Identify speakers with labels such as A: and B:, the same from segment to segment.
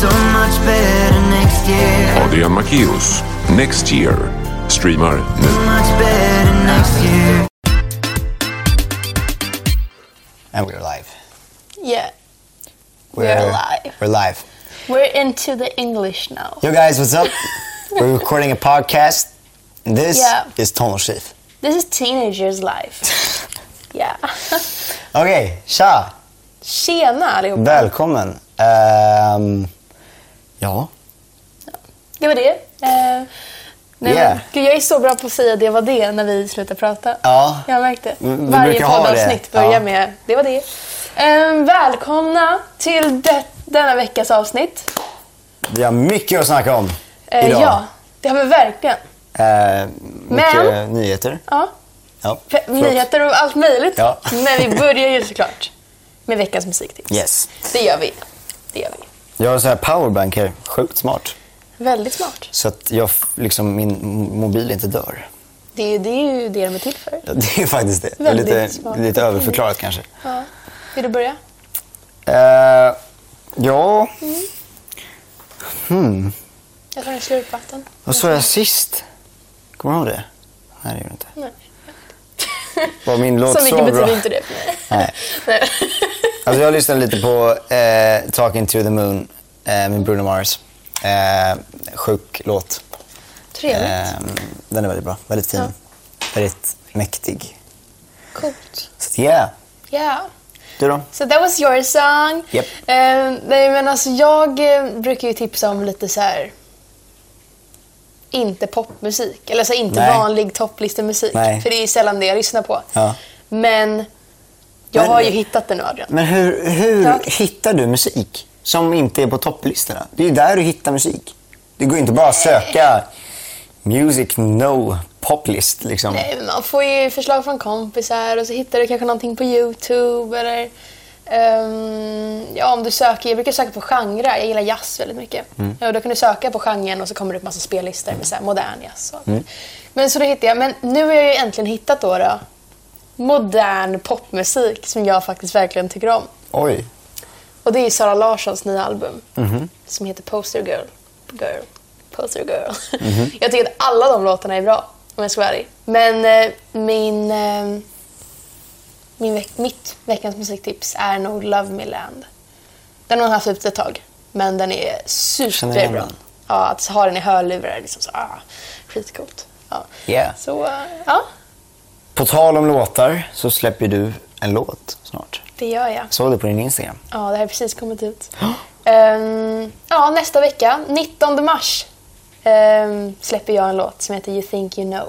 A: so much better next year.
B: Adrian Macchius, Next Year, streamar nu.
A: So much better next year.
C: And we're live.
D: Yeah, We're live.
C: We're live.
D: we're into the English now.
C: Yo, guys, what's up? we're recording a podcast. This
D: Yeah.
C: is Tonal Shift.
D: This is teenagers life. yeah.
C: Okej, tja!
D: Tjena allihopa.
C: Välkommen. Ehm, ja.
D: Det var det. Eh, nej,
C: Yeah.
D: men, gud, jag är så bra på att säga det var det när vi slutar prata.
C: Ja.
D: Jag märkte.
C: Mm, vi
D: Varje
C: brukar ha
D: poddavsnitt
C: det.
D: börjar
C: Ja.
D: med det var det. Eh, välkomna till det, denna veckas avsnitt.
C: Vi har mycket att snacka om
D: Eh,
C: idag.
D: ja, det har vi verkligen.
C: Eh, mycket
D: Men-
C: nyheter.
D: Ja.
C: Ja,
D: Fe-
C: förlåt.
D: Nyheter och allt möjligt.
C: Ja.
D: Men vi börjar ju såklart med veckans musiktips.
C: Yes.
D: Det gör vi. Det gör vi.
C: Jag har en sån här powerbank här. Sjukt smart.
D: Väldigt smart.
C: Så att jag, f- liksom, min m- mobil inte dör.
D: Det är, det är ju det de är till för.
C: Ja, Det är faktiskt det. Det är
D: Väldigt
C: lite,
D: smart.
C: lite överförklarat kanske.
D: Ja. Vill du börja?
C: Eh, ja,
D: Mm.
C: Hmm.
D: Jag tar en slurk vatten.
C: vad sa jag sist? Kommer du ihåg det? Nej, det gör du inte.
D: Nej.
C: Var min låt
D: så mycket
C: så
D: betyder
C: bra?
D: inte det för mig.
C: Nej.
D: Nej.
C: Alltså jag lyssnade lite på eh, Talking to the Moon eh, med Bruno Mars. Eh, sjuk låt.
D: Trevligt.
C: Ehm, den är väldigt bra, väldigt fin.
D: Ja.
C: Väldigt mäktig.
D: Coolt.
C: Så att, yeah.
D: Yeah.
C: Du då?
D: So that was your song.
C: Japp.
D: Eh, nej, men alltså jag eh, brukar ju tipsa om lite så här inte popmusik, eller så här, inte
C: Nej.
D: vanlig topplistemusik.
C: Nej.
D: För det är sällan det jag lyssnar på.
C: Ja.
D: Men jag
C: Men-
D: har ju hittat det nu, Adrian.
C: Men hur, hur
D: Tack.
C: hittar du musik som inte är på topplistorna? Det är ju där du hittar musik. Det går ju inte bara att söka music no poplist liksom.
D: Nej, men man får ju förslag från kompisar och så hittar du kanske någonting på Youtube eller ehm, ja, om du söker, jag brukar söka på genrer, jag gillar jazz väldigt mycket. Ja, och då kan du söka på genren och så kommer det upp massa spellistor med så här modern jazz. Och. Men så då hittade jag, men nu har jag ju äntligen hittat då, då modern popmusik som jag faktiskt verkligen tycker om.
C: Oj.
D: Och det är Sara Larssons nya album
C: Mhm.
D: som heter Poster Girl. Girl. Poster Girl.
C: Mhm.
D: Jag tycker att alla de låtarna är bra, om jag ska vara ärlig. Men eh, min, eh, min veck, mitt veckans musiktips är nog Love Me Land. Den har hon haft ute ett tag, men den är
C: igen
D: superbra.
C: den.
D: Ja, att ha den i hörlurar är liksom så, ah, skitcoolt. Ja.
C: Yeah.
D: Så, eh, ja,
C: På tal om låtar så släpper du en låt snart.
D: det gör jag.
C: Såg det på din Instagram.
D: Ja, det här har precis kommit ut. Ehm, ja, nästa vecka, 19 mars, ehm, släpper jag en låt som heter You think you know.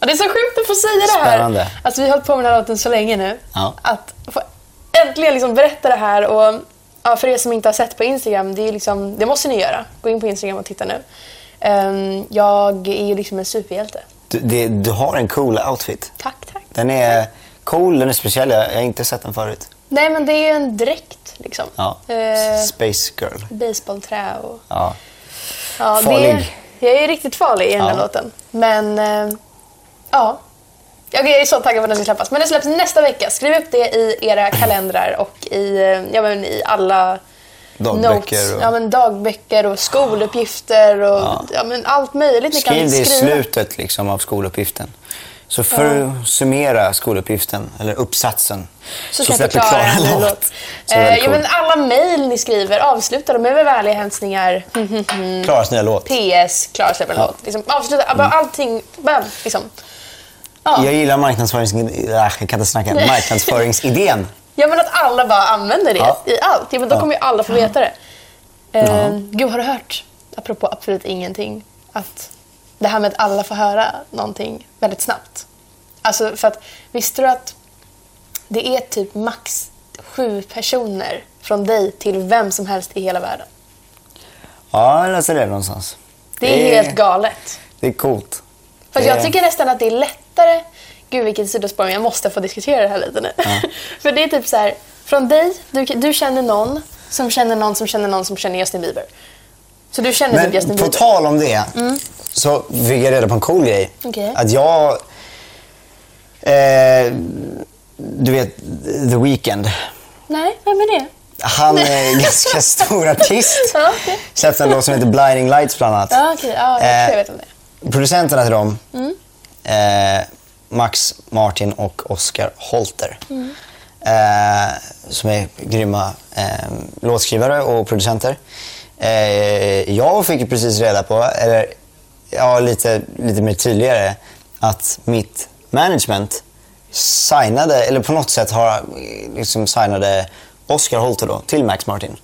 D: Och det är så sjukt att få säga det här.
C: Spännande.
D: Alltså, vi har hållit på med den här låten så länge nu.
C: Ja.
D: Att få äntligen liksom berätta det här. Och, ja, för er som inte har sett på Instagram, det, är liksom, det måste ni göra. Gå in på Instagram och titta nu. Ehm, jag är ju liksom en superhjälte.
C: Du, det, du har en cool outfit.
D: Tack, tack.
C: Den är cool, den är speciell. Jag jag har inte sett den förut.
D: Nej, men det är ju en dräkt liksom.
C: Ja.
D: Eh,
C: Space Girl.
D: Baseballträ och...
C: Ja.
D: Ja,
C: Farlig.
D: Det, jag är ju riktigt farlig i den här
C: Ja.
D: låten. Men, eh, ja. Jag är så taggad på att den ska släppas. Men den släpps nästa vecka. Skriv upp det i era kalendrar och i, eh, ja, men i alla
C: Dagböcker
D: notes.
C: och-
D: Ja, men dagböcker och skoluppgifter och ja. men allt möjligt ni
C: Skriv
D: kan
C: det i
D: skriva.
C: slutet liksom, av skoluppgiften. Så för att summera skoluppgiften, eller uppsatsen,
D: så ska jag förklara en ny låt.
C: Så det är
D: Eh,
C: väldigt
D: jo, men
C: cool.
D: alla mejl ni skriver, avsluta dem med väl vänliga hälsningar.
C: Klaras nya låt.
D: PS, Klara släpper en
C: Mm. Ja. Mm.
D: låt. Liksom, avsluta, bara allting. Bara, liksom. Ja.
C: Jag gillar marknadsföringsidén. Äh, Jag kan inte snacka. Marknadsföringsidén.
D: Ja men att alla bara använder det
C: Ja.
D: i allt. Ja, men då
C: Ja.
D: kommer ju alla få veta det. Eh, gud, har du hört, apropå absolut ingenting, att det här med att alla får höra någonting väldigt snabbt. Alltså för att visste du att det är typ max sju personer från dig till vem som helst i hela världen.
C: Ja, jag läste det någonstans.
D: Det är helt galet.
C: Det är coolt. Det-
D: Fast jag tycker nästan att det är lättare... Gud, vilket sidospår, men jag måste få diskutera det här lite nu. För det är typ så här, från dig, du, du känner någon som känner någon som känner någon som känner Justin Bieber. Så du känner typ Justin
C: Men på
D: Bieber.
C: tal om det så fick jag reda på en cool grej.
D: Mm. Okej.
C: Att jag... Eh, du vet, The Weeknd.
D: Nej, vem är det?
C: Han är en ganska stor artist.
D: Ja, okej.
C: Släppte en låt som heter Blinding Lights bland annat.
D: Ja, okej. Ja, jag tror jag
C: Eh,
D: vet om det.
C: Producenterna till dem, eh, Max Martin och Oskar Holter. Eh, som är grymma eh, låtskrivare och producenter. Eh, jag fick ju precis reda på, eller ja, lite, lite mer tydligare, att mitt management signade, eller på något sätt har, liksom signade Oskar Holter då, till Max Martin.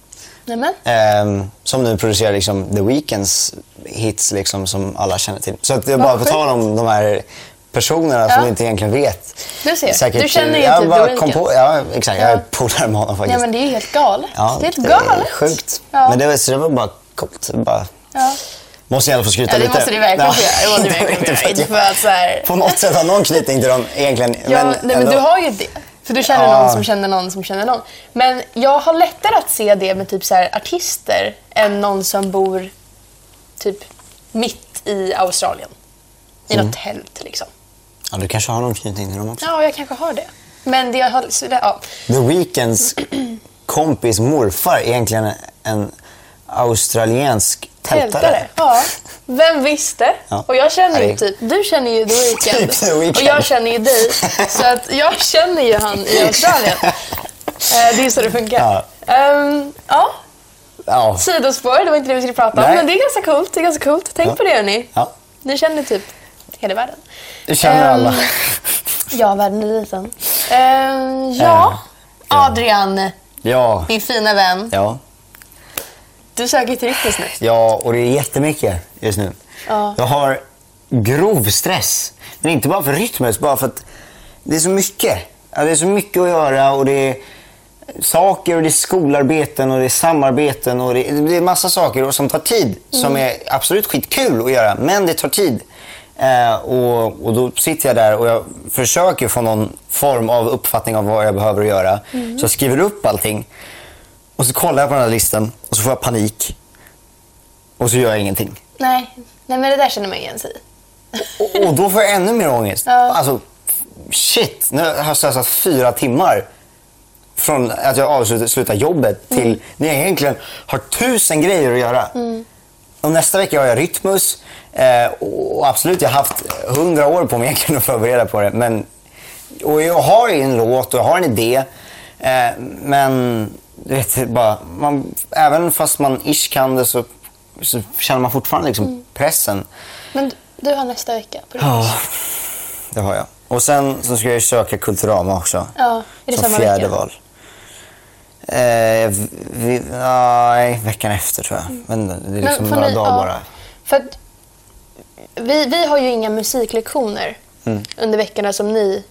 D: Nämen.
C: Ehm, som nu producerar liksom The Weeknds hits liksom, som alla känner till. Så att det är
D: Vad
C: bara på
D: sjukt.
C: tal om de här personerna som
D: Ja.
C: vi inte egentligen vet.
D: Du ser, du känner ju
C: jag
D: typ The
C: bara kom
D: Weeknd.
C: på, Ja, exakt. Jag
D: Ja.
C: är polare med honom faktiskt.
D: Ja, men det är ju helt galet.
C: Ja,
D: det är helt galet.
C: Sjukt.
D: Ja.
C: Men det var, så det var bara coolt. Bara...
D: Ja.
C: Måste jag i alla fall skryta
D: Ja, det
C: lite.
D: måste du verkligen
C: Ja.
D: få göra. Det måste du
C: Det var
D: verkligen
C: inte
D: få
C: för
D: göra.
C: att
D: Inte för att så här...
C: jag- På något sätt har någon knytning till dem egentligen.
D: Ja, men, nej, men
C: ändå.
D: du har ju det. För du känner
C: Ja.
D: någon som känner någon som känner någon. Men jag har lättare att se det med typ så här artister än någon som bor typ mitt i Australien. I
C: Mm.
D: något tält liksom.
C: Ja, du kanske har någon knytning till dem också.
D: Ja, jag kanske har det. Men det jag har... så det- Ja.
C: The Weeknds kompis morfar är egentligen en australiensk tältare.
D: Tältare. Ja. Vem visste?
C: Ja.
D: Och jag känner
C: Ja,
D: ju
C: det-
D: typ... Du känner ju The Weeknd.
C: Typ The Weeknd.
D: Och jag känner ju dig. Så att jag känner ju han i Australien. Eh, Det är så det funkar.
C: Ja.
D: Ehm, ja.
C: Ja.
D: Sidospår, det var inte det vi skulle prata om.
C: Nej.
D: Men det är ganska coolt. Det är ganska coolt. Tänk
C: Ja.
D: på det hörni.
C: ja.
D: Ni känner typ hela världen.
C: Det känner
D: Ehm,
C: alla.
D: Ja, världen är liten. Ehm, ja.
C: Eh, Ja.
D: Adrian,
C: Ja.
D: min fina vän.
C: Ja.
D: Du söker till Rytmus nu.
C: Ja, och det är jättemycket just nu.
D: Ja.
C: Jag har grov stress. Men inte bara för rytmen, bara för att det är så mycket. Ja, det är så mycket att göra och det är saker och det är skolarbeten och det är samarbeten och det är, det är massa saker och som tar tid. Som är absolut skitkul att göra, men det tar tid. Eh, och, och då sitter jag där och jag försöker få någon form av uppfattning av vad jag behöver göra. Så jag skriver upp allting. Och så kollar jag på den här listan och så får jag panik. Och så gör jag ingenting.
D: Nej. Nej, men det där känner man igen sig i.
C: Och, och då får jag ännu mer ångest.
D: Ja.
C: Alltså, f- shit. Nu har jag slösat fyra timmar från att jag avslutar slutar jobbet till när jag egentligen har tusen grejer att göra. Och nästa vecka har jag Rytmus. Eh, och och absolut, jag har haft hundra år på mig egentligen att förbereda på det. Men, och jag har ju en låt och jag har en idé. Eh, men du vet, det bara, man, även fast man ish kan det så, så känner man fortfarande liksom pressen.
D: Men du- du har nästa vecka på Rytmus.
C: Ja, det har jag. Och sen så ska jag ju söka Kulturama också.
D: Ja, är det
C: som
D: samma
C: fjärde
D: vecka?
C: val. Eh, vi, nej, veckan efter tror jag. Men det är
D: Mm. Men
C: liksom
D: får
C: några
D: ni-
C: dagar
D: ja,
C: bara.
D: För att vi, vi har ju inga musiklektioner
C: Mm.
D: under veckorna som ni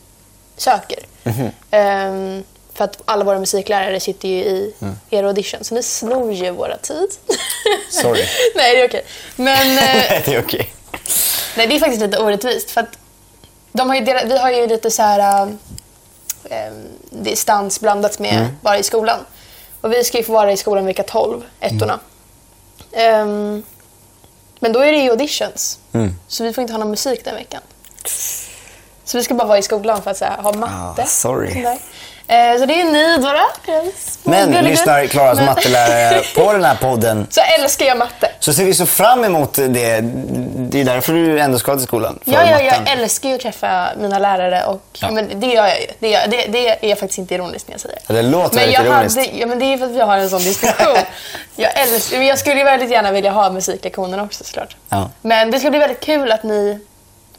D: söker.
C: Mhm.
D: Ehm, för att alla våra musiklärare sitter ju i
C: Mm.
D: er audition, så ni snor ju våra tid.
C: Sorry.
D: nej, det är okej. Men eh,
C: det är okej.
D: nej, det är faktiskt lite orättvist. För att de har ju delat, vi har ju lite så här eh, distans blandat med
C: Mm.
D: vara i skolan. Och vi ska ju få vara i skolan vecka 12, ettorna.
C: Mm.
D: Ehm, men då är det ju auditions. Så vi får inte ha någon musik den veckan. Så vi ska bara vara i skolan för att så här, ha matte.
C: Ah, sorry.
D: Sådär. Eh, så det är ni då. då. Små
C: Men
D: gulliga.
C: lyssnar Klaras
D: Men-
C: mattelärare på den här podden
D: så älskar jag matte.
C: så ser vi så fram emot det. Det är därför du ändå ska till skolan. för
D: Ja, ja,
C: matten.
D: jag älskar ju att träffa mina lärare och
C: Ja.
D: men det gör jag ju. Det, gör, det, det är faktiskt inte ironiskt när jag säger
C: Ja, det låter
D: men
C: väldigt
D: jag
C: ironiskt.
D: Hade, ja, men det är för att vi har en sån diskussion. jag, älskar, men jag skulle ju väldigt gärna vilja ha musiklektionerna också såklart.
C: Ja.
D: Men det ska bli väldigt kul att ni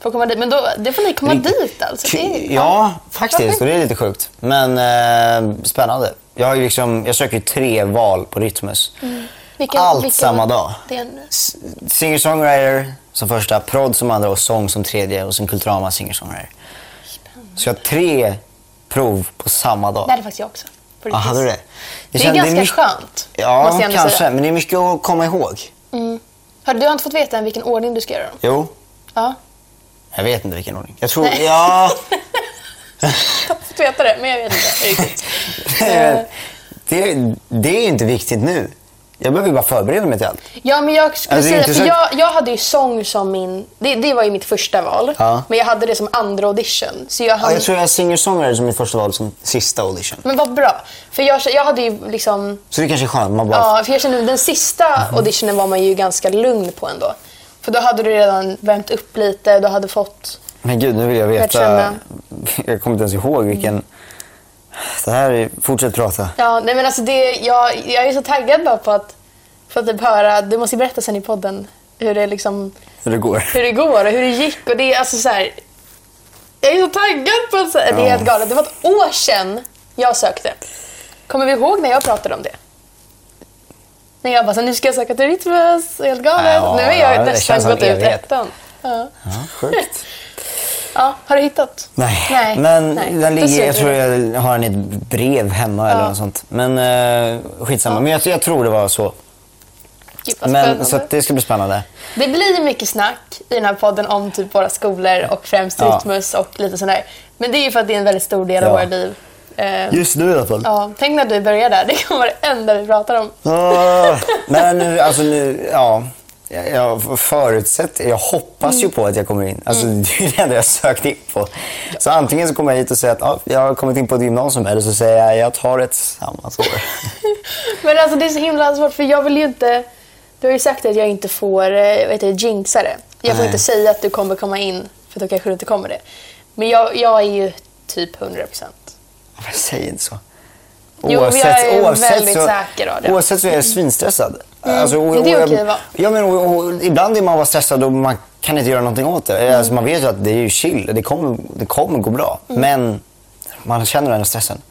D: får komma dit. Men då, det får ni komma dit alltså. Det är-
C: Ja, faktiskt. Och
D: Varför?
C: det är lite sjukt. Men eh, spännande. Jag, har ju liksom, jag söker ju tre val på Rytmus.
D: Mm. Vilken-
C: Allt
D: vilken-
C: samma dag.
D: Det är nu.
C: S- Singer-songwriter som första, prod som andra och sång som tredje och sen Kulturama singer-songwriter. Så jag har tre prov på samma dag.
D: Det hade faktiskt jag också. på
C: Ja,
D: riktigt.
C: hade du det?
D: Det är
C: känns-
D: ganska
C: mycket-
D: skönt,
C: Ja,
D: måste jag ändå
C: kanske.
D: säga.
C: Men det är mycket att komma ihåg.
D: Hörru, du har inte fått veta än vilken ordning du ska göra dem?
C: Jo,
D: Ja.
C: jag vet inte vilken ordning. Jag tror...
D: Nej.
C: Ja.
D: Jag har fått veta det, men jag vet inte riktigt.
C: det, det är ju inte viktigt nu. Jag behöver ju bara förbereda mig till allt.
D: Ja, men jag skulle
C: Alltså, det är
D: säga, för
C: intressant.
D: jag, jag hade ju sång som min... Det, det var ju mitt första val.
C: Ja.
D: Men jag hade det som andra audition. Så jag
C: Ja,
D: hann,
C: jag tror jag har singer-songwriter som mitt första val som sista audition.
D: Men vad bra. För jag, jag hade ju liksom...
C: Så det kanske är skönt. Man bara,
D: Ja, för jag kände den sista
C: Mhm.
D: auditionen var man ju ganska lugn på ändå. För då hade du redan värmt upp lite, du hade fått...
C: men gud nu vill jag veta.
D: känna.
C: Jag kommer inte ens ihåg vilken. Det här är, fortsätt prata.
D: Ja, nej men alltså det... Jag, jag är så taggad bara på att... För att typ höra... Du måste ju berätta sen i podden hur det liksom...
C: Hur det går.
D: Hur det går och hur det gick och det är alltså så här... Jag är så taggad på att säga... Det är
C: Ja.
D: helt galet. Det var ett år sedan jag sökte. Kommer vi ihåg när jag pratade om det? När jag bara så här, nu ska jag söka till Rytmus, helt galet.
C: Ja,
D: nu är jag
C: ja, det
D: nästan
C: känns som
D: gått
C: en
D: ut
C: evighet.
D: ettan. Ja.
C: Ja, sjukt.
D: ja, har du hittat?
C: Nej.
D: Nej.
C: Men
D: Nej.
C: den
D: Då
C: ligger,
D: ser
C: jag
D: du
C: tror
D: det.
C: jag har den i ett brev hemma eller något sånt. Men eh, skitsamma. Men jag, jag tror det var så.
D: Gud, vad
C: Men,
D: spännande.
C: så att det ska bli spännande.
D: Det blir mycket snack i den här podden om typ våra skolor och främst
C: Ja.
D: Rytmus och lite sådär. Men det är ju för att det är en väldigt stor del av
C: Ja.
D: våra liv. Eh,
C: Just nu i alla fall.
D: ja, tänk när du börjar där, det kommer vara det enda vi pratar om.
C: Ah, men nu, alltså nu, ja. Jag- Jag förutsätter, jag hoppas ju på att jag kommer in. Alltså,
D: Mm.
C: det är det enda jag sökt in på. Så antingen så kommer jag hit och säger att ah, jag har kommit in på ett gymnasium eller så säger jag jag tar ett sabbatsår.
D: Men alltså det är så himla svårt för jag vill ju inte... Du har ju sagt att jag inte får eh, vad heter det, jinxa det. Jag får
C: Nej.
D: inte säga att du kommer komma in för då kanske du inte kommer det. Men jag, jag är ju typ 100 procent.
C: Men Säg inte så.
D: Jo, men jag är väldigt
C: så,
D: säker av det. Mm.
C: Oavsett så är jag svinstressad. Alltså,
D: men det är okej att vara.
C: Ja, men, och, och, ibland är man bara stressad och man kan inte göra någonting åt det. Alltså,
D: Mm.
C: man vet ju att det är ju chill, det kommer, det kommer gå bra. Men man känner den här stressen.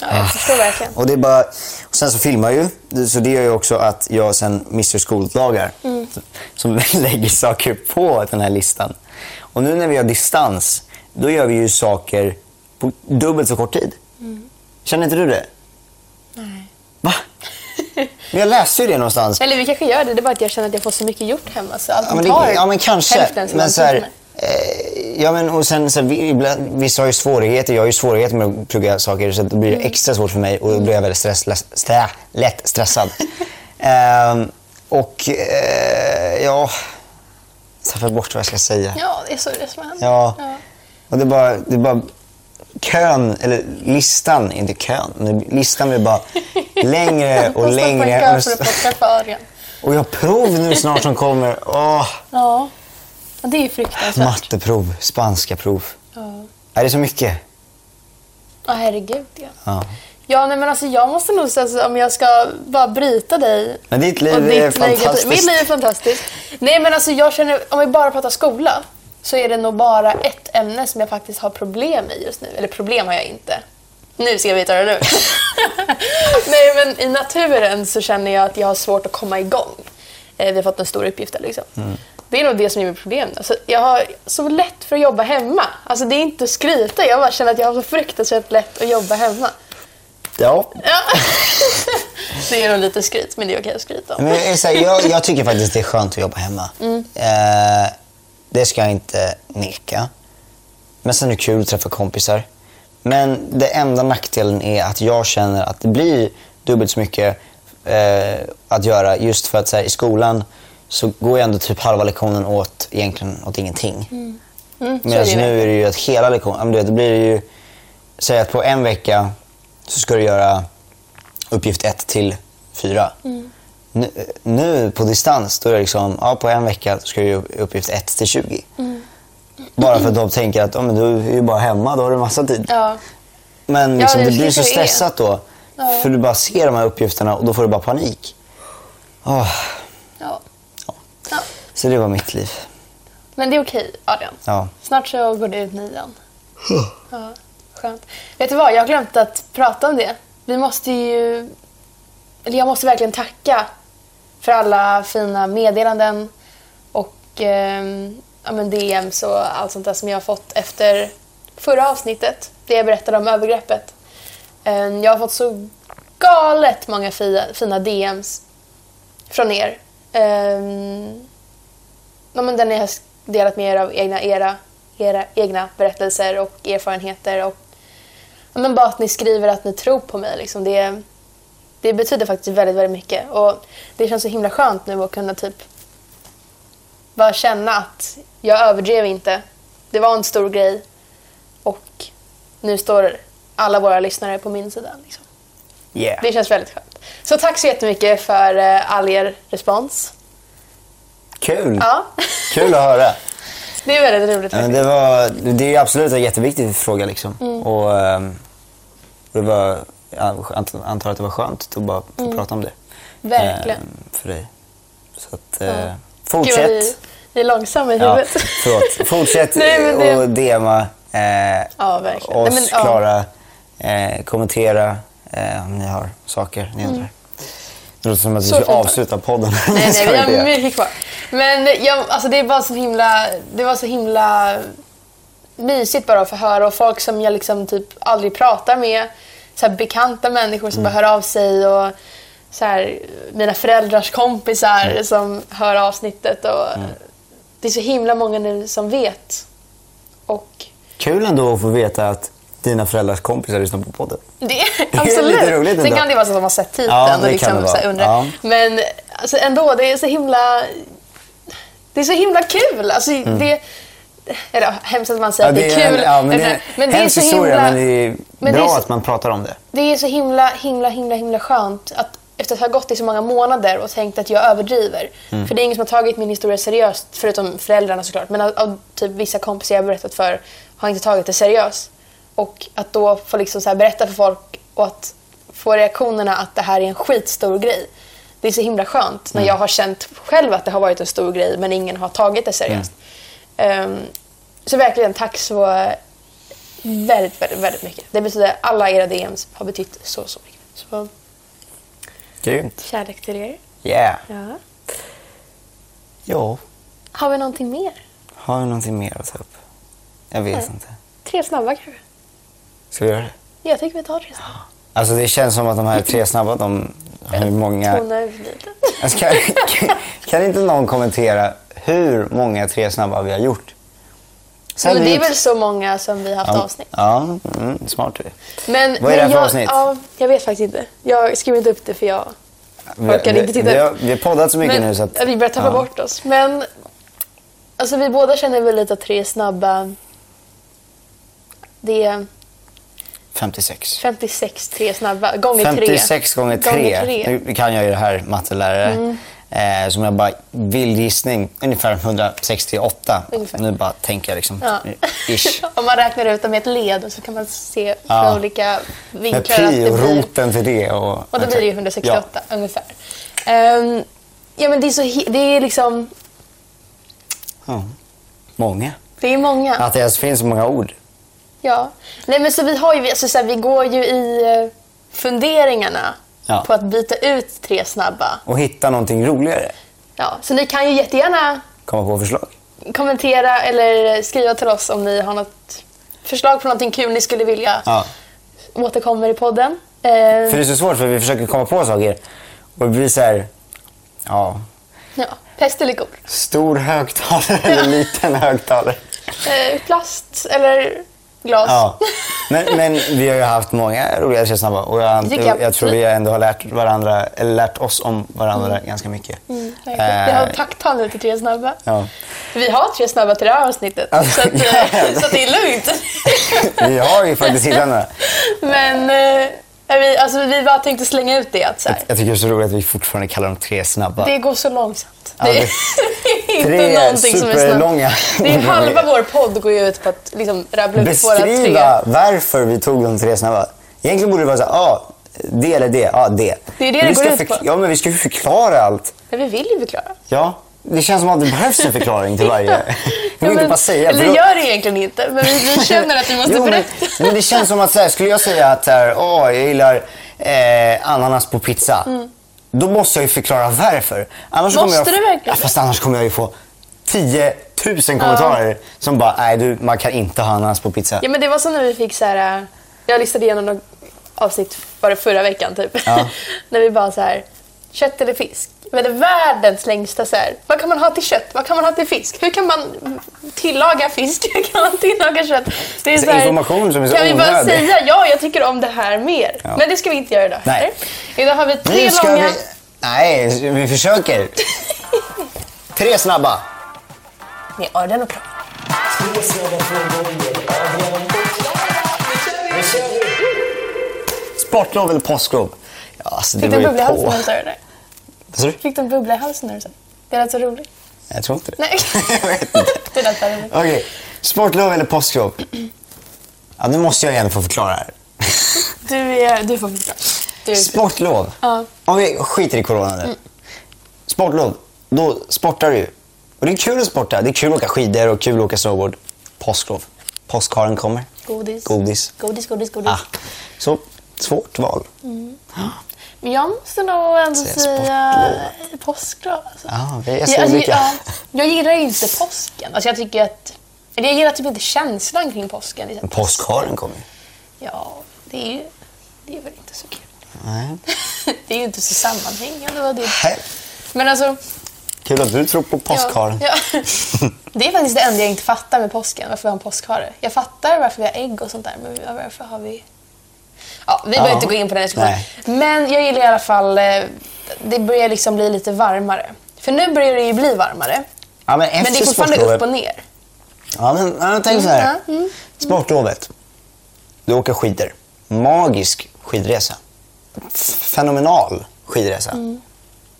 D: Ja,
C: Ah.
D: jag förstår verkligen.
C: Och det är bara... och sen så filmar jag ju, så det gör ju också att jag sen missar skoldagar. Som lägger saker på den här listan. Och nu när vi har distans, då gör vi ju saker på dubbelt så kort tid. Känner inte du det? Nej. Va? Men jag läste ju det någonstans.
D: Eller vi kanske gör det, det är bara att jag känner att jag får så mycket gjort hemma så allt
C: Ja men,
D: tar
C: det, ja, men kanske.
D: hälften så lång
C: Men
D: tid
C: så
D: för
C: här,
D: mig.
C: eh, ja, men, och sen, så här, vi, ibland, vissa har ju svårigheter. Jag har ju svårigheter med att plugga saker så att det blir
D: Mm.
C: extra svårt för mig och då blir jag väldigt stress, läs- strä, lätt stressad. Ehm, och eh, ja... Jag tappade bort vad jag ska säga.
D: Ja, det är så det som händer.
C: Ja. Och det är bara, det är bara kön, eller listan, inte kön, men listan blir bara längre och längre.
D: Jag för att få träffa Örjan.
C: Och jag har prov nu snart som kommer. Åh.
D: Ja. Ja, Det är ju fruktansvärt.
C: Matteprov, spanska prov.
D: Ja.
C: Är det så mycket?
D: Ja, herregud ja.
C: Ja.
D: Ja, nej, men alltså jag måste nog säga så, om jag ska bara bryta dig.
C: Men ditt liv
D: och
C: är
D: ditt
C: fantastiskt.
D: negativ- Mitt liv är fantastiskt. Nej, men alltså jag känner, om vi bara pratar skola, så är det nog bara ett ämne som jag faktiskt har problem i just nu. Eller problem har jag inte. Nu ska vi ta det nu. nej, men i naturen så känner jag att jag har svårt att komma igång. Eh, Vi har fått en stor uppgift där liksom.
C: Mm.
D: Det är nog det som är mitt problem. Alltså, jag har så lätt för att jobba hemma. Alltså, det är inte att skryta, jag bara känner att jag har så fruktansvärt lätt att jobba hemma.
C: Ja.
D: Ja. det är nog lite skryt, men det är okej att skryta om.
C: Men jag, är så här, jag, jag tycker faktiskt det är skönt att jobba hemma. Eh, det ska jag inte neka. Men sen är det kul att träffa kompisar. Men det enda nackdelen är att jag känner att det blir dubbelt så mycket eh, att göra just för att så här, i skolan så går jag ändå typ halva lektionen åt egentligen åt ingenting.
D: Mm, så
C: Medan
D: är det
C: alltså
D: ju.
C: nu är det ju att hela lektionen, ja, men du vet, det blir ju, säg att på en vecka så ska du göra uppgift 1 till 4.
D: Mm.
C: Nu, nu på distans, då är det liksom, ja, på en vecka ska du göra uppgift 1 till 20.
D: Mm.
C: Bara för att de tänker att ja, men du är ju bara hemma, då har du massa tid.
D: Ja.
C: Men liksom,
D: det
C: det blir
D: kanske
C: så
D: det är.
C: stressat då. För du bara ser de här uppgifterna och då får du bara panik. Åh,
D: Ja. ja.
C: så det var mitt liv.
D: Men det är okej, Adrian.
C: Ja.
D: Snart så går det ut nian. Ja, skönt. Vet du vad, jag har glömt att prata om det. Vi måste ju... Eller jag måste verkligen tacka för alla fina meddelanden och ehm, ja, men DMs och allt sånt där som jag har fått efter förra avsnittet, det jag berättade om övergreppet. Ehm, jag har fått så galet många fia, fina DMs från er. Ehm, ja, men den ni har delat med er av egna, era, era egna berättelser och erfarenheter. Och, ja, men bara att ni skriver att ni tror på mig. Liksom. Det, Det betyder faktiskt väldigt, väldigt mycket. Och det känns så himla skönt nu att kunna typ bara känna att jag överdrev inte. Det var en stor grej och nu står alla våra lyssnare på min sida. Liksom.
C: Yeah.
D: Det känns väldigt skönt. Så tack så jättemycket för eh, all er respons.
C: Kul!
D: Ja,
C: Kul att höra.
D: det är väldigt roligt
C: Ja, men
D: faktiskt.
C: det, var, det är ju absolut en jätteviktig fråga. Liksom.
D: Mm.
C: Och, ehm, det var, jag ant- antar att det var skönt att bara få prata om det.
D: Mm. Verkligen.
C: ehm, för dig. Så att,
D: Ja.
C: eh,
D: Gud,
C: fortsätt.
D: vad vi, vi är långsamma i
C: Ja,
D: huvudet.
C: förlåt. Fortsätt
D: Nej, men det-
C: och DMa eh,
D: Ja, verkligen.
C: oss,
D: Nej, men, ja.
C: Klara. Eh, kommentera eh, om ni har saker ni undrar. Det låter som att vi
D: Mm. Så
C: ska
D: fint.
C: avsluta podden.
D: Nej, nej,
C: Ska
D: vi
C: inte göra.
D: har mycket kvar. Men jag, alltså det, är bara så himla, det var så himla mysigt bara att få höra och folk som jag liksom typ aldrig pratar med. Så här bekanta människor som
C: Mm.
D: bara hör av sig och så här, mina föräldrars kompisar
C: Mm.
D: som hör avsnittet. Och Det är så himla många nu som vet. Och
C: Kul ändå att få veta att dina föräldrars kompisar lyssnar på podden.
D: Det,
C: är
D: absolut.
C: lite roligt
D: Sen
C: ändå.
D: kan det vara så att de har sett titeln
C: Ja, det
D: och liksom
C: kan det
D: så här
C: vara.
D: undrar.
C: Ja.
D: Men alltså, ändå, det är så himla... Det är så himla kul. Alltså, det, eller ja, hemskt att man säger att det är kul.
C: Mm. ja, men det,
D: men,
C: är en
D: det är
C: hemsk
D: så
C: historia,
D: himla,
C: men det är
D: men det
C: bra
D: är så-
C: att man pratar om det.
D: det är så himla, himla, himla, himla skönt att efter att ha gått i så många månader och tänkt att jag överdriver. För det är ingen som har tagit min historia seriöst, förutom föräldrarna såklart. Men av, av typ vissa kompisar jag har berättat för har inte tagit det seriöst. Och att då få liksom så här berätta för folk och att få reaktionerna att det här är en skitstor grej. Det är så himla skönt när jag har känt själv att det har varit en stor grej men ingen har tagit det seriöst. Ehm, så verkligen tack så väldigt, väldigt, väldigt mycket. Det betyder alla era DMs har betytt så, så mycket. Så
C: Grymt.
D: kärlek till er.
C: Yeah.
D: Ja.
C: Ja.
D: Har vi någonting mer?
C: Har vi någonting mer att ta upp? Jag vet
D: Nej.
C: inte.
D: Tre snabba kanske?
C: Ska vi göra det?
D: Jag tycker vi tar tre snabba.
C: Alltså det känns som att de här tre snabba, de har ju många...
D: Tona ut lite.
C: Alltså, kan, kan, kan inte någon kommentera hur många tre snabba vi har gjort? Sen
D: Men det är
C: gjort-
D: väl så många som vi har haft
C: ja,
D: avsnitt.
C: Ja, mm, smart du är.
D: Men,
C: Vad är det här
D: men
C: för
D: jag,
C: avsnitt?
D: Ja, jag vet faktiskt inte. Jag skriver inte upp det för jag...
C: Vi,
D: Orkar
C: vi,
D: inte titta.
C: vi, har, vi har poddat så mycket
D: men,
C: nu så att...
D: Vi börjar tappa
C: ja.
D: bort oss. Men alltså, vi båda känner väl lite att tre snabba... Det är
C: 56.
D: 56 tre snabba gånger tre.
C: 56 gånger 3. Nu kan jag ju det här, mattelärare.
D: Mm.
C: Eh, som jag bara vill gissning, ungefär 168.
D: Ungefär.
C: Nu bara tänker jag liksom,
D: Ja.
C: ish.
D: Om man räknar ut dem i ett led så kan man se från
C: Ja.
D: olika
C: Med
D: vinklar
C: pi och
D: det blir,
C: roten till det. Och,
D: och då blir det ju 168 ungefär. Ehm, ja, men det är, så, hi- det är liksom...
C: Ja. Ja. Många.
D: Det är många.
C: Att det ens finns så många ord.
D: Ja. Nej, men så vi, har ju, alltså, så här, vi går ju i eh, funderingarna
C: Ja.
D: på att byta ut tre snabba.
C: Och hitta någonting roligare.
D: Ja. Så ni kan ju jättegärna
C: Komma på förslag.
D: kommentera eller skriva till oss om ni har något förslag på någonting kul ni skulle vilja
C: Ja.
D: återkommer i podden.
C: För
D: Ehm,
C: det är så svårt för vi försöker komma på saker. Och det blir så här, ja,
D: ja. Pest eller god.
C: stor högtalare eller liten högtalare.
D: Eh, plast eller glas.
C: Ja. Men, men vi har ju haft många roliga Tre snabba och jag,
D: tycker jag.
C: jag tror vi ändå har lärt, varandra, eller lärt oss om varandra ganska mycket.
D: Mm. Verkligen. Jag har
C: Eh,
D: tacktal nu till tre snabba.
C: ja.
D: Vi har tre snabba till det här avsnittet,
C: Alltså,
D: så, att, eh, så att det är lugnt.
C: Vi har ju faktiskt hittat några.
D: Men eh, är vi, alltså, vi bara tänkte slänga ut det. Att, så här,
C: Jag tycker det är så roligt att vi fortfarande kallar dem Tre snabba.
D: det går så långsamt.
C: Ja,
D: det,
C: det-
D: är inte
C: tre
D: någonting som är snabbt.
C: superlånga.
D: Det är halva vår podd går ju ut på att liksom, rabbla upp våra tre.
C: Beskriva varför vi tog de Tre snabba. Egentligen borde det vara så här, ja, det eller det, ja, det.
D: Det är det
C: Men
D: det
C: vi ska
D: går ut på.
C: förk- Ja, men vi ska ju förklara allt.
D: Men vi vill ju förklara.
C: Ja, det känns som att det behövs en förklaring till varje. Vi
D: Ja,
C: vill inte
D: men-
C: bara säga. för
D: Eller
C: då-
D: gör det egentligen inte, men vi, vi känner att vi måste
C: Jo, men,
D: berätta.
C: men det känns som att så här, skulle jag säga att så här, åh, jag gillar eh, ananas på pizza. Då måste jag ju förklara varför. Annars kommer
D: Måste
C: jag,
D: du verkligen?
C: Ja, fast annars kommer jag ju få 10 000 kommentarer som bara, nej du, man kan inte ha ananas på pizza.
D: Ja men det var som när vi fick så här. äh, Jag listade igenom några avsnitt var det förra veckan typ.
C: Ja.
D: när vi bara så här. Kött eller fisk? Men det är världens längsta så här. Vad kan man ha till kött? Vad kan man ha till fisk? Hur kan man tillaga fisk? Hur kan man tillaga kött? Det är
C: Så Alltså, information som är så
D: Kan vi bara
C: onödig.
D: säga ja, jag tycker om det här mer? Men det ska vi inte göra idag.
C: Nej.
D: Idag har vi tre
C: Nu ska
D: långa...
C: vi... Nej, vi försöker. Tre snabba.
D: Ni har den och bra.
C: Sportlov eller påsklov? Ja, alltså, det
D: Fick du en
C: beror
D: bubbla i
C: ju
D: halsen
C: på.
D: när du sa det där?
C: Vad sa du?
D: Fick du en bubbla i halsen när du sa det? Det lät så roligt.
C: Jag tror inte det.
D: Nej.
C: jag vet inte.
D: Det lät bara roligt.
C: Okej, sportlov eller påsklov? Ja, nu måste jag igen få förklara här.
D: Du, är, du får förklara. Du,
C: Sportlov.
D: Ja. Mm.
C: Om vi skiter i corona nu. Sportlov, då sportar du. Och det är kul att sporta. Det är kul att åka skidor och kul att åka snowboard. Påsklov. Påskharen kommer.
D: godis.
C: Godis.
D: Godis, godis, godis.
C: Ah. Så svårt val.
D: Men jag måste nog ändå
C: Säga
D: säga påsklov. Alltså.
C: Ja, vi är så
D: jag, alltså,
C: olika.
D: ja, jag gillar ju inte påsken. Alltså, jag tycker att... Eller jag gillar typ inte känslan kring påsken. Liksom.
C: Påskharen kommer.
D: Ja, det är ju... Det är väl inte så kul.
C: Nej.
D: det är ju inte så sammanhängande. Vad det...
C: Hej.
D: Men alltså...
C: Kul att du tror på påskharen.
D: Ja, ja. Det är faktiskt det enda jag inte fattar med påsken, varför vi har en påskhare. Jag fattar varför vi har ägg och sånt där, men varför har vi... Ja, vi behöver
C: Ja.
D: inte gå in på den diskussionen.
C: Nej.
D: Men jag gillar i alla fall, eh, det börjar liksom bli lite varmare. För nu börjar det ju bli varmare,
C: Ja, men,
D: men det är
C: efter
D: fortfarande
C: sportlovet.
D: upp och ner.
C: Ja, men ja, tänk så här.
D: Mm, ja, mm.
C: Sportlovet. Du åker skidor. Magisk skidresa. Fenomenal skidresa.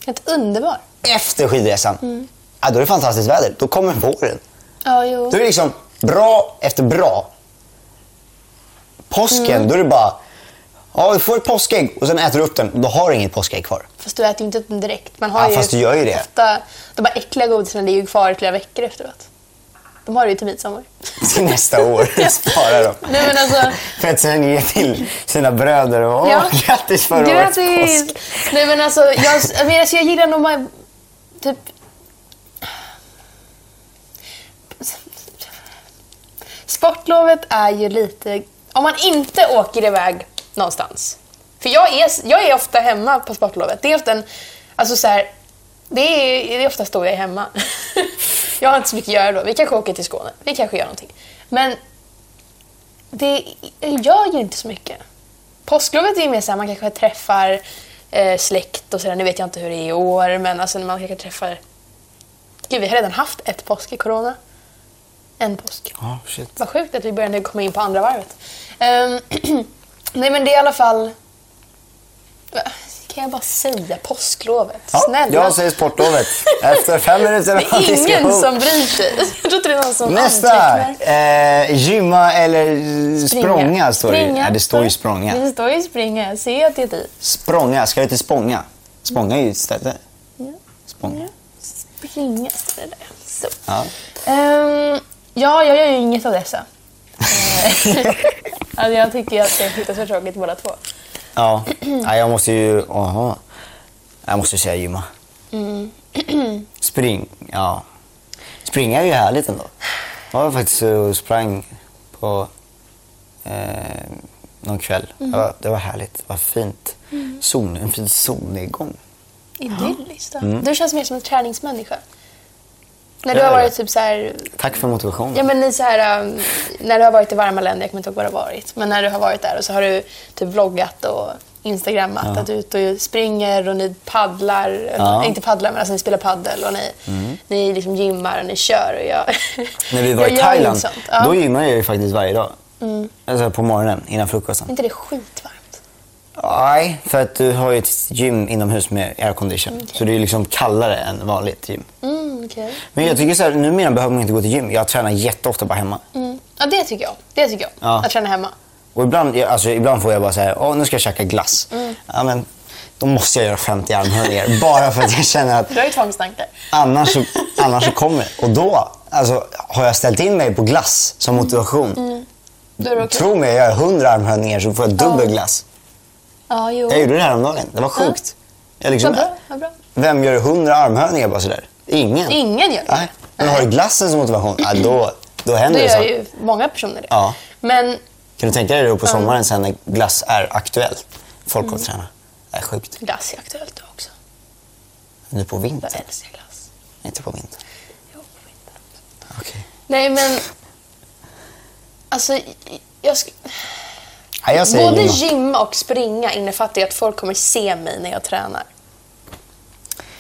D: Helt underbar.
C: Efter skidresan, ja, då är det fantastiskt väder. Då kommer våren.
D: Ja, jo.
C: Då är det liksom bra efter bra. Påsken, då är det bara... Ja, du får ett påskägg och sen äter du upp den. Då har du inget påskägg kvar.
D: Fast du äter ju inte upp den direkt. Man har
C: Ja,
D: ju
C: fast du gör ju det.
D: Ofta, de här äckliga godisarna ligger ju kvar i flera veckor efteråt. De har det ju till midsommar.
C: Till nästa år. Spara dem.
D: Nej, men alltså...
C: För att sen ge till sina bröder. Och,
D: Ja.
C: Åh, grattis förra årets
D: Grattis!
C: påsk.
D: Nej men alltså, jag, jag menar, alltså, jag gillar nog man, typ... Sportlovet är ju lite... Om man inte åker iväg någonstans. För jag är, jag är ofta hemma på sportlovet. Det är ofta en, alltså så här, det är, det är oftast då jag är hemma. jag har inte så mycket att göra då. Vi kanske åker till Skåne. Vi kanske gör någonting. Men det gör ju inte så mycket. Påsklovet är ju mer såhär, man kanske träffar eh, släkt och sådär. Nu vet jag inte hur det är i år, men alltså när man kanske träffar... Gud, vi har redan haft ett påsk i corona. En påsk.
C: Ja, shit.
D: Vad sjukt att vi börjar nu komma in på andra varvet. Ehm, Nej, men det är i alla fall... Kan jag bara säga påsklovet?
C: Ja,
D: Snälla.
C: jag säger sportlovet. Efter fem minuter
D: Det
C: av
D: är ingen
C: diskussion.
D: som bryr sig. Jag tror inte det är någon som
C: Nästa!
D: antecknar.
C: Eh, gymma eller språnga står det ju.
D: Springa. Mm.
C: Nej, det står ju språnga.
D: Det står ju springa. Jag ser att det är dit.
C: Språnga, ska du till Spånga? Spånga är ju ett ställe. Spånga.
D: Springa står det där. Så.
C: Ja.
D: Ehm, ja, jag gör ju inget av dessa. Eh, alltså jag tycker att det är fruktansvärt tråkigt båda två.
C: Ja. ja, jag måste ju... Aha. Jag måste säga gymma.
D: Mm.
C: Spring, ja. Springa är ju härligt ändå. Jag var faktiskt och sprang på eh, någon kväll. Det, var, det var härligt, det var fint. Sol, en fin solnedgång.
D: Idylliskt. då. Du känns mer som en träningsmänniska. När du
C: Jag
D: har
C: är
D: varit
C: det.
D: typ så här,
C: Tack för motivationen.
D: ja men i så här, ehm, när du har varit i varma länder, jag kommer inte ihåg var du har varit, men när du har varit där och så har du typ vloggat och instagrammat att du är ute och springer och ni paddlar,
C: Ja. Mm.
D: inte paddlar men alltså ni spelar paddel och ni, ni liksom gymmar och ni kör och jag...
C: När vi var
D: jag
C: i
D: gör ju
C: Thailand,
D: inte sånt. Ja. Mm.
C: då gymmade jag ju faktiskt varje dag. Alltså på morgonen innan
D: Är
C: frukosten.
D: inte det skitvarmt?
C: Nej, för att du har ju ett gym inomhus med aircondition. Så det är ju liksom kallare än vanligt gym.
D: Mm, okej.
C: Men jag tycker så här, numera behöver man inte gå till gym. Jag tränar jätteofta bara hemma.
D: Mm. Ja, det tycker jag om. Det tycker jag om.
C: Ja.
D: Att träna hemma.
C: Och ibland, jag- alltså, ibland får jag bara så här, åh nu ska jag käka glass.
D: Mm.
C: Ja, men, då måste jag göra 50 armhävningar bara för att jag känner att
D: Du har ju tvångstankar.
C: Annars så, annars så kommer det. Och då alltså, har jag ställt in mig på glass som motivation.
D: Mm. Då är det okej.
C: Tro mig, jag gör 100 armhävningar så får jag dubbel glass.
D: Ja, jo.
C: Jag gjorde det här om dagen. Det var sjukt. Jag liksom,
D: Vad bra, vad bra.
C: Vem gör 100 armhävningar bara sådär? Ingen.
D: Ingen gör det.
C: Nej. Men har du glassen som motivation, ja, då, då
D: Då
C: händer det.
D: gör
C: saker.
D: ju många personer det.
C: Ja.
D: Men
C: Kan du tänka dig det på
D: Mm.
C: sommaren sen när glass är aktuellt? Folk går och tränar. Det är sjukt.
D: glass är aktuellt då också.
C: Nu på vintern?
D: Jag älskar glass.
C: Inte på vintern.
D: Jo, på vintern.
C: Okej.
D: Nej, men... Alltså, jag sk-
C: Ja, jag säger
D: Både
C: gymma.
D: gymma och springa innefattar ju att folk kommer se mig när jag tränar.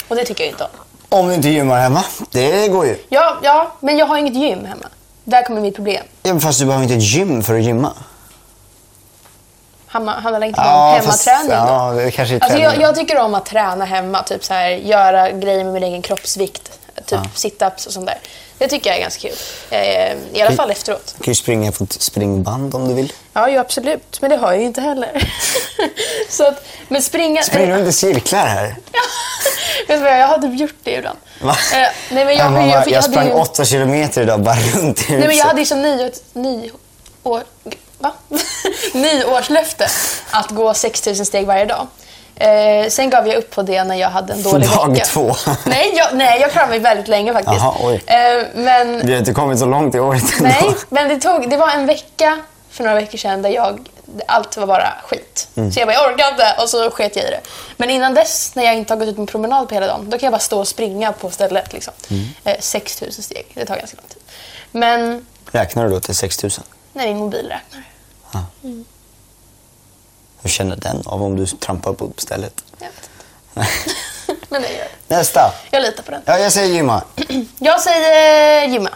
D: Och det tycker jag inte om.
C: Om du inte gymmar hemma. Det går ju.
D: Ja, ja, men jag har inget gym hemma. Där kommer mitt problem.
C: Ja, men fast du behöver inte ett gym för att gymma.
D: Hamma- Handlar det inte om
C: Ja, fast-
D: hemmaträning då?
C: ja, det kanske är
D: alltså, jag,
C: träning.
D: jag tycker om att träna hemma. Typ så här, göra grejer med min egen kroppsvikt. Typ situps och sånt där. Det tycker jag är ganska kul. Eh, I alla fall efteråt.
C: Du kan ju springa på ett springband om du vill.
D: Ja, ju absolut. Men det har jag ju inte heller. så att, men springa...
C: Springer du inte cirklar här?
D: Vet du vad, jag har typ gjort det ibland.
C: Va?
D: Eh, nej, men jag,
C: Ja, mamma,
D: jag, jag, hade
C: sprang
D: ju,
C: åtta kilometer idag bara runt i huset.
D: Nej, men jag hade ju som nio, nio år, va? nyårslöfte att gå 6000 steg varje dag. Eh, sen gav jag upp på det när jag hade en dålig
C: Dag
D: vecka.
C: två.
D: Nej, jag, nej, jag klarade mig väldigt länge faktiskt.
C: Jaha, oj.
D: Eh, men
C: Vi har inte kommit så långt i året ändå.
D: Nej, men det, tog, det var en vecka för några veckor sedan där jag, allt var bara skit. Så jag bara, jag orkar inte och så sket jag i det. Men innan dess, när jag inte har gått ut på promenad på hela dagen, då kan jag bara stå och springa på stället. Liksom. Eh, 6 000 steg, det tar ganska lång tid. Men
C: Räknar du då till 6000?
D: när min mobil räknar.
C: Hur känner den av om du trampar på stället?
D: Jag vet inte. men det gör det.
C: Nästa.
D: Jag litar på den.
C: Ja, jag säger gymma.
D: Jag säger gymma.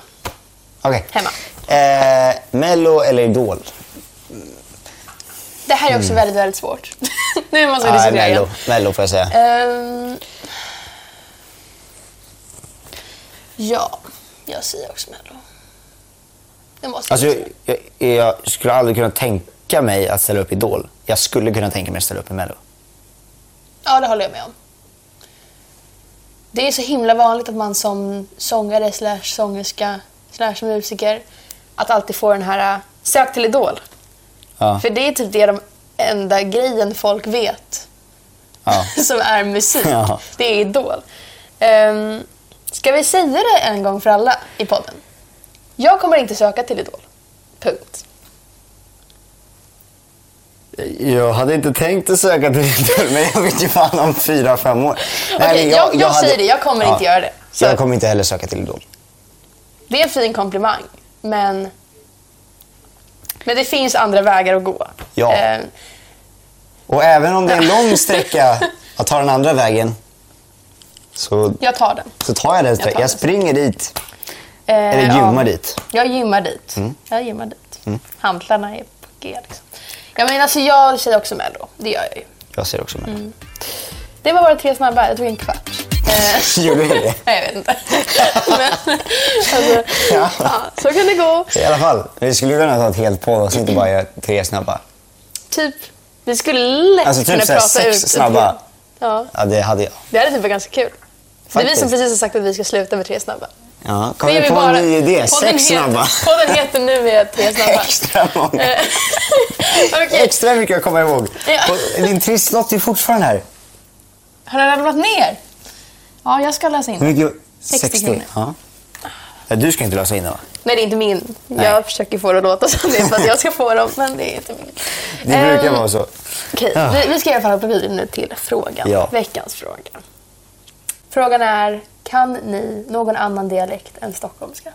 C: Okej.
D: Hemma.
C: Eh, Mello eller Idol?
D: Det här är också väldigt, väldigt svårt. nu måste vi
C: Ah,
D: diskutera igen.
C: Mello. Mello får jag säga.
D: Ehm. ja, jag säger också Mello. Det måste
C: Alltså,
D: jag.
C: jag, jag, jag skulle aldrig kunna tänka mig att ställa upp i Idol. Jag skulle kunna tänka mig att ställa upp i Mello.
D: Ja, det håller jag med om. Det är så himla vanligt att man som sångare slash sångerska slash musiker att alltid få den här äh, sök till Idol.
C: Ja.
D: För det är typ det de enda grejen folk vet
C: Ja.
D: som är musik.
C: Ja.
D: Det är Idol. Um, ska vi säga det en gång för alla i podden? Jag kommer inte söka till Idol. Punkt.
C: Jag hade inte tänkt att söka till Idol, men jag vet ju fan om fyra, fem år.
D: Okej,
C: men
D: jag- jag säger det, jag kommer inte göra det. Så-
C: Jag kommer inte heller söka till Idol.
D: Det är en fin komplimang, men, men det finns andra vägar att gå.
C: Ja.
D: Ehm,
C: Och även om det är en lång sträcka att ta den andra vägen, så,
D: jag tar den.
C: så tar jag den
D: tar
C: sträckan. Jag
D: den.
C: springer dit,
D: Ehm,
C: eller
D: ja.
C: gymmar dit. Mm.
D: Jag gymmar dit. Jag gymmar dit. Hantlarna är på G. Liksom. Ja, men alltså, jag säger också Mello. Det gör jag ju.
C: Jag ser också med.
D: Mm. Det var bara tre snabba. Jag tog en kvart. Ehm,
C: Gjorde jag det?
D: Nej, jag vet inte. Men, alltså,
C: Ja.
D: ja. så kan det gå.
C: I alla fall, vi skulle kunna ta ett helt poddavsnitt och bara göra tre snabba.
D: Typ, vi skulle lätt
C: Alltså typ
D: kunna
C: såhär
D: prata
C: sex
D: ut.
C: snabba.
D: Ja,
C: Ja, det hade jag.
D: det hade typ varit ganska kul. Det är vi som
C: Faktiskt.
D: precis har sagt att vi ska sluta med tre snabba.
C: Ja, kom
D: Det är
C: vi
D: vi
C: på
D: bara-
C: en ny idé.
D: podden
C: Sex
D: heter-
C: snabba.
D: Podden heter nu med tre snabba.
C: Extra många.
D: Eh, Okej,
C: Extra mycket att komma ihåg.
D: Ja.
C: Och Din trisslott är fortfarande här.
D: har den ramlat ner? Ja, jag ska läsa in.
C: Hur mycket?
D: 60 kronor.
C: Ja. Ja, Du ska inte lösa in den va?
D: Nej, det är inte min. Jag försöker få det att låta som det är för att jag ska få dem, men det är inte min.
C: Det brukar
D: Ehm,
C: vara så.
D: Okej,
C: Ja.
D: vi, vi ska i alla fall hoppa vidare nu till frågan.
C: Ja.
D: Veckans fråga. Frågan är, kan ni någon annan dialekt än stockholmska?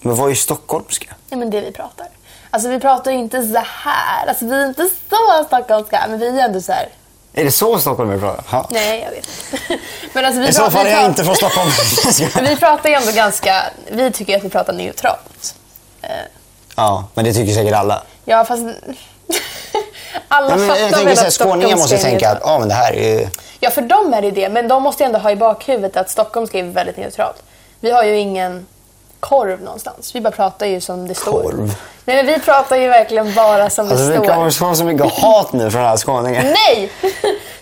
C: Men vad är stockholmska?
D: Nej, men det vi pratar. Alltså vi pratar ju inte så här. Alltså vi är inte så stockholmska, men vi är ändå så här.
C: Är det så stockholmare pratar? Ja.
D: Nej, jag vet inte. Men alltså, vi
C: I så
D: pratar-
C: fall
D: vi
C: är jag
D: pratar-
C: inte från Stockholm.
D: Men vi pratar ju ändå ganska... Vi tycker att vi pratar neutralt.
C: ja, men det tycker säkert alla.
D: Ja, fast... Alla
C: Ja, men
D: fattar
C: jag tänker
D: väl
C: så här,
D: att
C: skåningar måste
D: stockholmska är
C: ju tänka att
D: neutralt.
C: ja, men det här är ju...
D: Ja, för dem är det det. Men de måste ju ändå ha i bakhuvudet att stockholmska är väldigt neutralt. Vi har ju ingen korv någonstans. Vi bara pratar ju som det står.
C: Korv?
D: Nej, men vi pratar ju verkligen bara som
C: Alltså,
D: det
C: det
D: står.
C: kommer så så mycket hat nu från alla skåningar.
D: Nej!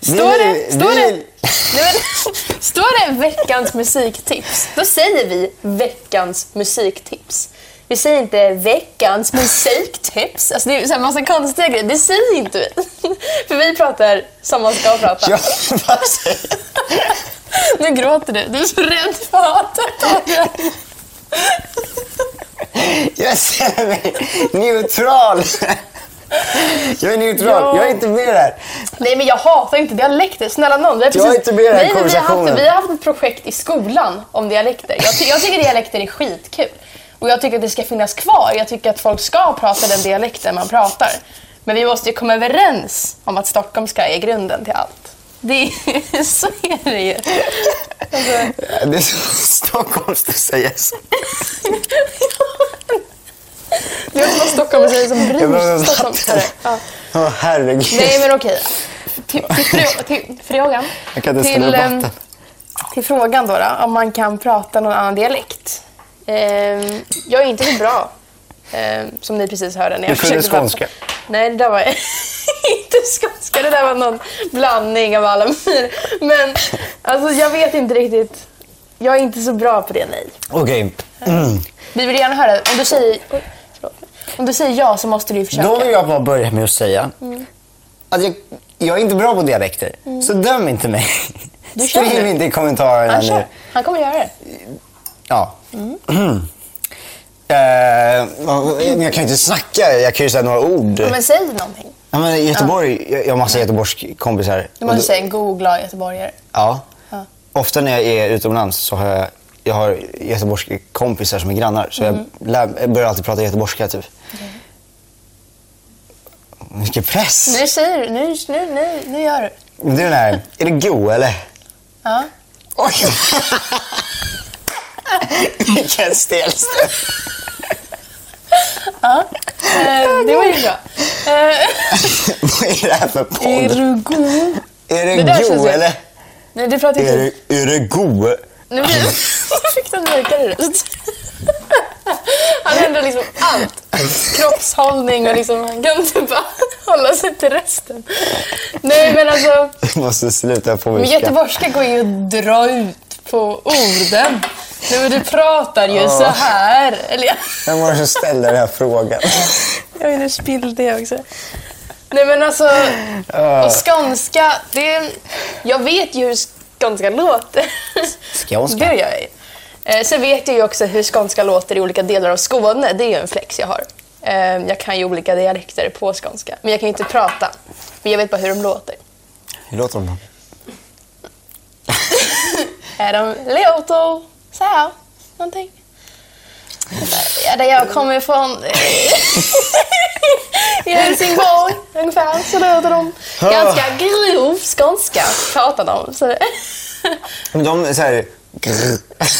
D: Står det,
C: vi-
D: står, det,
C: vi-
D: nej men, står det veckans musiktips, då säger vi veckans musiktips. Vi säger inte veckans musiktips. Alltså det är så här massa konstiga grejer. Det säger inte vi. För vi pratar som man ska prata.
C: Jag vill bara säga-
D: Nu gråter du. Du är så rädd för hatet.
C: jag känner mig neutral. Jag är neutral,
D: Ja.
C: jag är inte med där.
D: Nej men jag hatar inte dialekter, snälla nån. Vi har
C: Jag är inte med i den här
D: Nej, men vi, har haft,
C: konversationen.
D: vi har haft ett projekt i skolan om dialekter. Jag, ty- jag tycker dialekter är skitkul. Och jag tycker att det ska finnas kvar. Jag tycker att folk ska prata den dialekten man pratar. Men vi måste ju komma överens om att stockholmska är grunden till allt. Det är, så är det ju. Alltså,
C: Det är så stockholmskt att säga så.
D: Det är någon stockholmare som
C: Jag behöver
D: bryr
C: vatten.
D: stockholmskare. Ja.
C: Åh herregud.
D: Nej men okej. Till, till, frå- till frågan.
C: Jag kan inte
D: till,
C: ställa upp
D: ehm,
C: vatten.
D: Till frågan då, då om man kan prata någon annan dialekt. Ehm, jag är inte så bra, ehm, som ni precis hörde. När jag
C: Du kunde
D: försökte
C: skånska.
D: Prata. Nej, det där var inte skånska. Det där var någon blandning av alla miner. Men alltså, jag vet inte riktigt. Jag är inte så bra på det, nej.
C: Okej,
D: Vi vill gärna höra. Om du säger, oj, förlåt. om du säger ja så måste du ju försöka.
C: då vill jag bara börja med att säga
D: Mm.
C: att jag, jag är inte bra på dialekter. Så döm inte mig.
D: Du kör
C: Skriv
D: nu.
C: inte i kommentarerna
D: Han,
C: nu.
D: kör. Mm. Han kommer göra det.
C: Ja. Eh, vad- men jag kan ju inte snacka, jag kan ju säga några ord.
D: Men säg någonting.
C: Ja, men i Göteborg, jag jag har massa Göteborgskompisar.
D: Du
C: Och
D: måste
C: då-
D: säga en googla göteborgare.
C: Ja.
D: Ja.
C: Ofta när jag är utomlands så har jag, jag har göteborgska kompisar som är grannar. Så
D: Mm.
C: jag, lär, jag börjar alltid prata göteborgska typ. Vilken press!
D: Nu säger du. Nu, nu, nu, nu gör du.
C: Men Du den här, är det go eller?
D: Ja.
C: Oj! Vilken stel stund.
D: Eh, det var ju bra. Eh,
C: Vad är det här för podd? Är det,
D: Det där känns
C: go
D: ju-
C: eller?
D: Nej, det pratar
C: Är
D: inte...
C: det, är det go?
D: Nu blir Nu fick du en mörkare röst. Han ändrar liksom allt. Kroppshållning och liksom, han kan inte bara hålla sig till resten. Nej, men alltså,
C: Jag måste sluta på
D: men
C: mig.
D: göteborgska går ju att dra ut på orden. Nej, men du pratar ju så här. Eller jag-
C: Vem var det som ställde den här frågan?
D: Jag nu spillde jag också. Nej men alltså, och skånska, det är, jag vet ju hur skånska låter.
C: Skånska?
D: Det gör jag ju. Eh, Sen vet jag ju också hur skånska låter i olika delar av Skåne. Det är ju en flex jag har. Eh, Jag kan ju olika dialekter på skånska, men jag kan ju inte prata. Men jag vet bara hur de låter.
C: Hur låter de?
D: Eh, De låter så här, någonting. Ja, där jag kommer ifrån, eh, i Helsingborg ungefär, så låter de ganska grov skånska, pratar de. Så, det-
C: Men De är så här...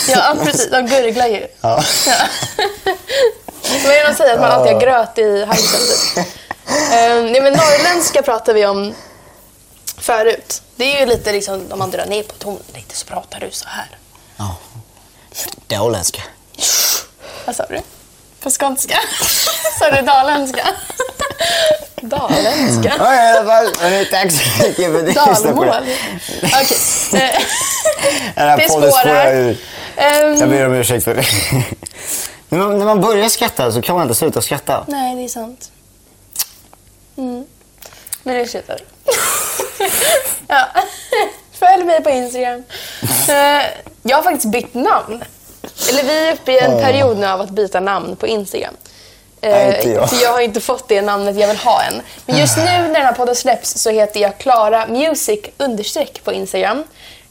D: ja, precis, de gurglar ju.
C: Ja.
D: Men jag säger att man alltid har gröt i halsen typ. Eh, Nej men norrländska pratar vi om förut. Det är ju lite liksom, om man drar ner på tonen lite så pratar du så här.
C: Ja. Dåländska.
D: Vad sa du? På skånska? sa du daländska? daländska?
C: Ja, i alla fall. Men Tack så mycket för att ni lyssnade på
D: Dalmål?
C: det.
D: Okej. Eh,
C: Den här
D: Det
C: podden spårar
D: spårar.
C: ur.
D: ehm,
C: Jag ber om ursäkt för det. När man, när man börjar skratta så kan man inte sluta skratta.
D: nej, det är sant. Mm. Men det slutar. ja. Följ mig på Instagram. Eh, jag har faktiskt bytt namn. Eller vi är uppe i en period nu av att byta namn på Instagram. Eh,
C: Nej, inte jag.
D: för jag har inte fått det namnet jag vill ha än. Men just nu när den här podden släpps så heter jag Klara Music understreck på Instagram.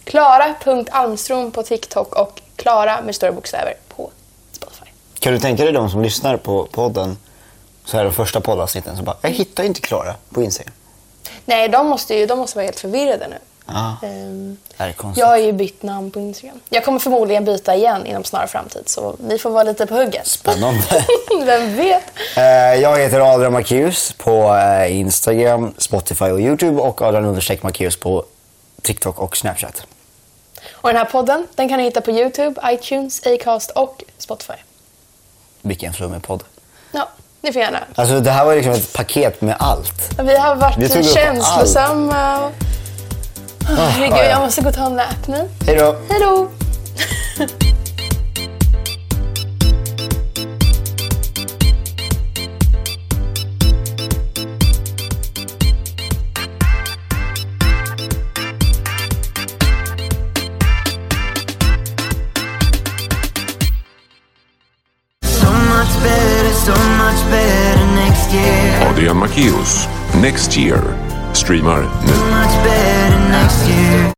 D: Klara.almstrom på TikTok och Klara med stora bokstäver på Spotify.
C: Kan du tänka dig de som lyssnar på podden, så här de första poddavsnitten, som bara “Jag hittar inte Klara på Instagram”?
D: Nej, de måste ju de måste vara helt förvirrade nu.
C: Ja,
D: Ehm,
C: det här är konstigt.
D: jag har ju bytt namn på Instagram. Jag kommer förmodligen byta igen inom snar framtid, så ni får vara lite på hugget.
C: Spännande.
D: Vem vet?
C: Eh, Jag heter Adrian Marcus på eh, Instagram, Spotify och YouTube och Adrian understreck Marcus på TikTok och Snapchat.
D: Och den här podden den kan ni hitta på Youtube, iTunes, Acast och Spotify.
C: Vilken flummig podd.
D: Ja, ni får gärna.
C: Alltså det här var liksom ett paket med allt.
D: Vi har varit
C: Vi tog upp
D: känslosamma. och- Åh,
C: Ah, ja,
D: Herregud,
C: ja.
D: jag måste gå och ta en nap nu.
C: Hej då!
D: Hej då!
A: So much better, so much better next next year.
B: Adrian Macchius. Next year. Streamar nu.
A: Much better next year.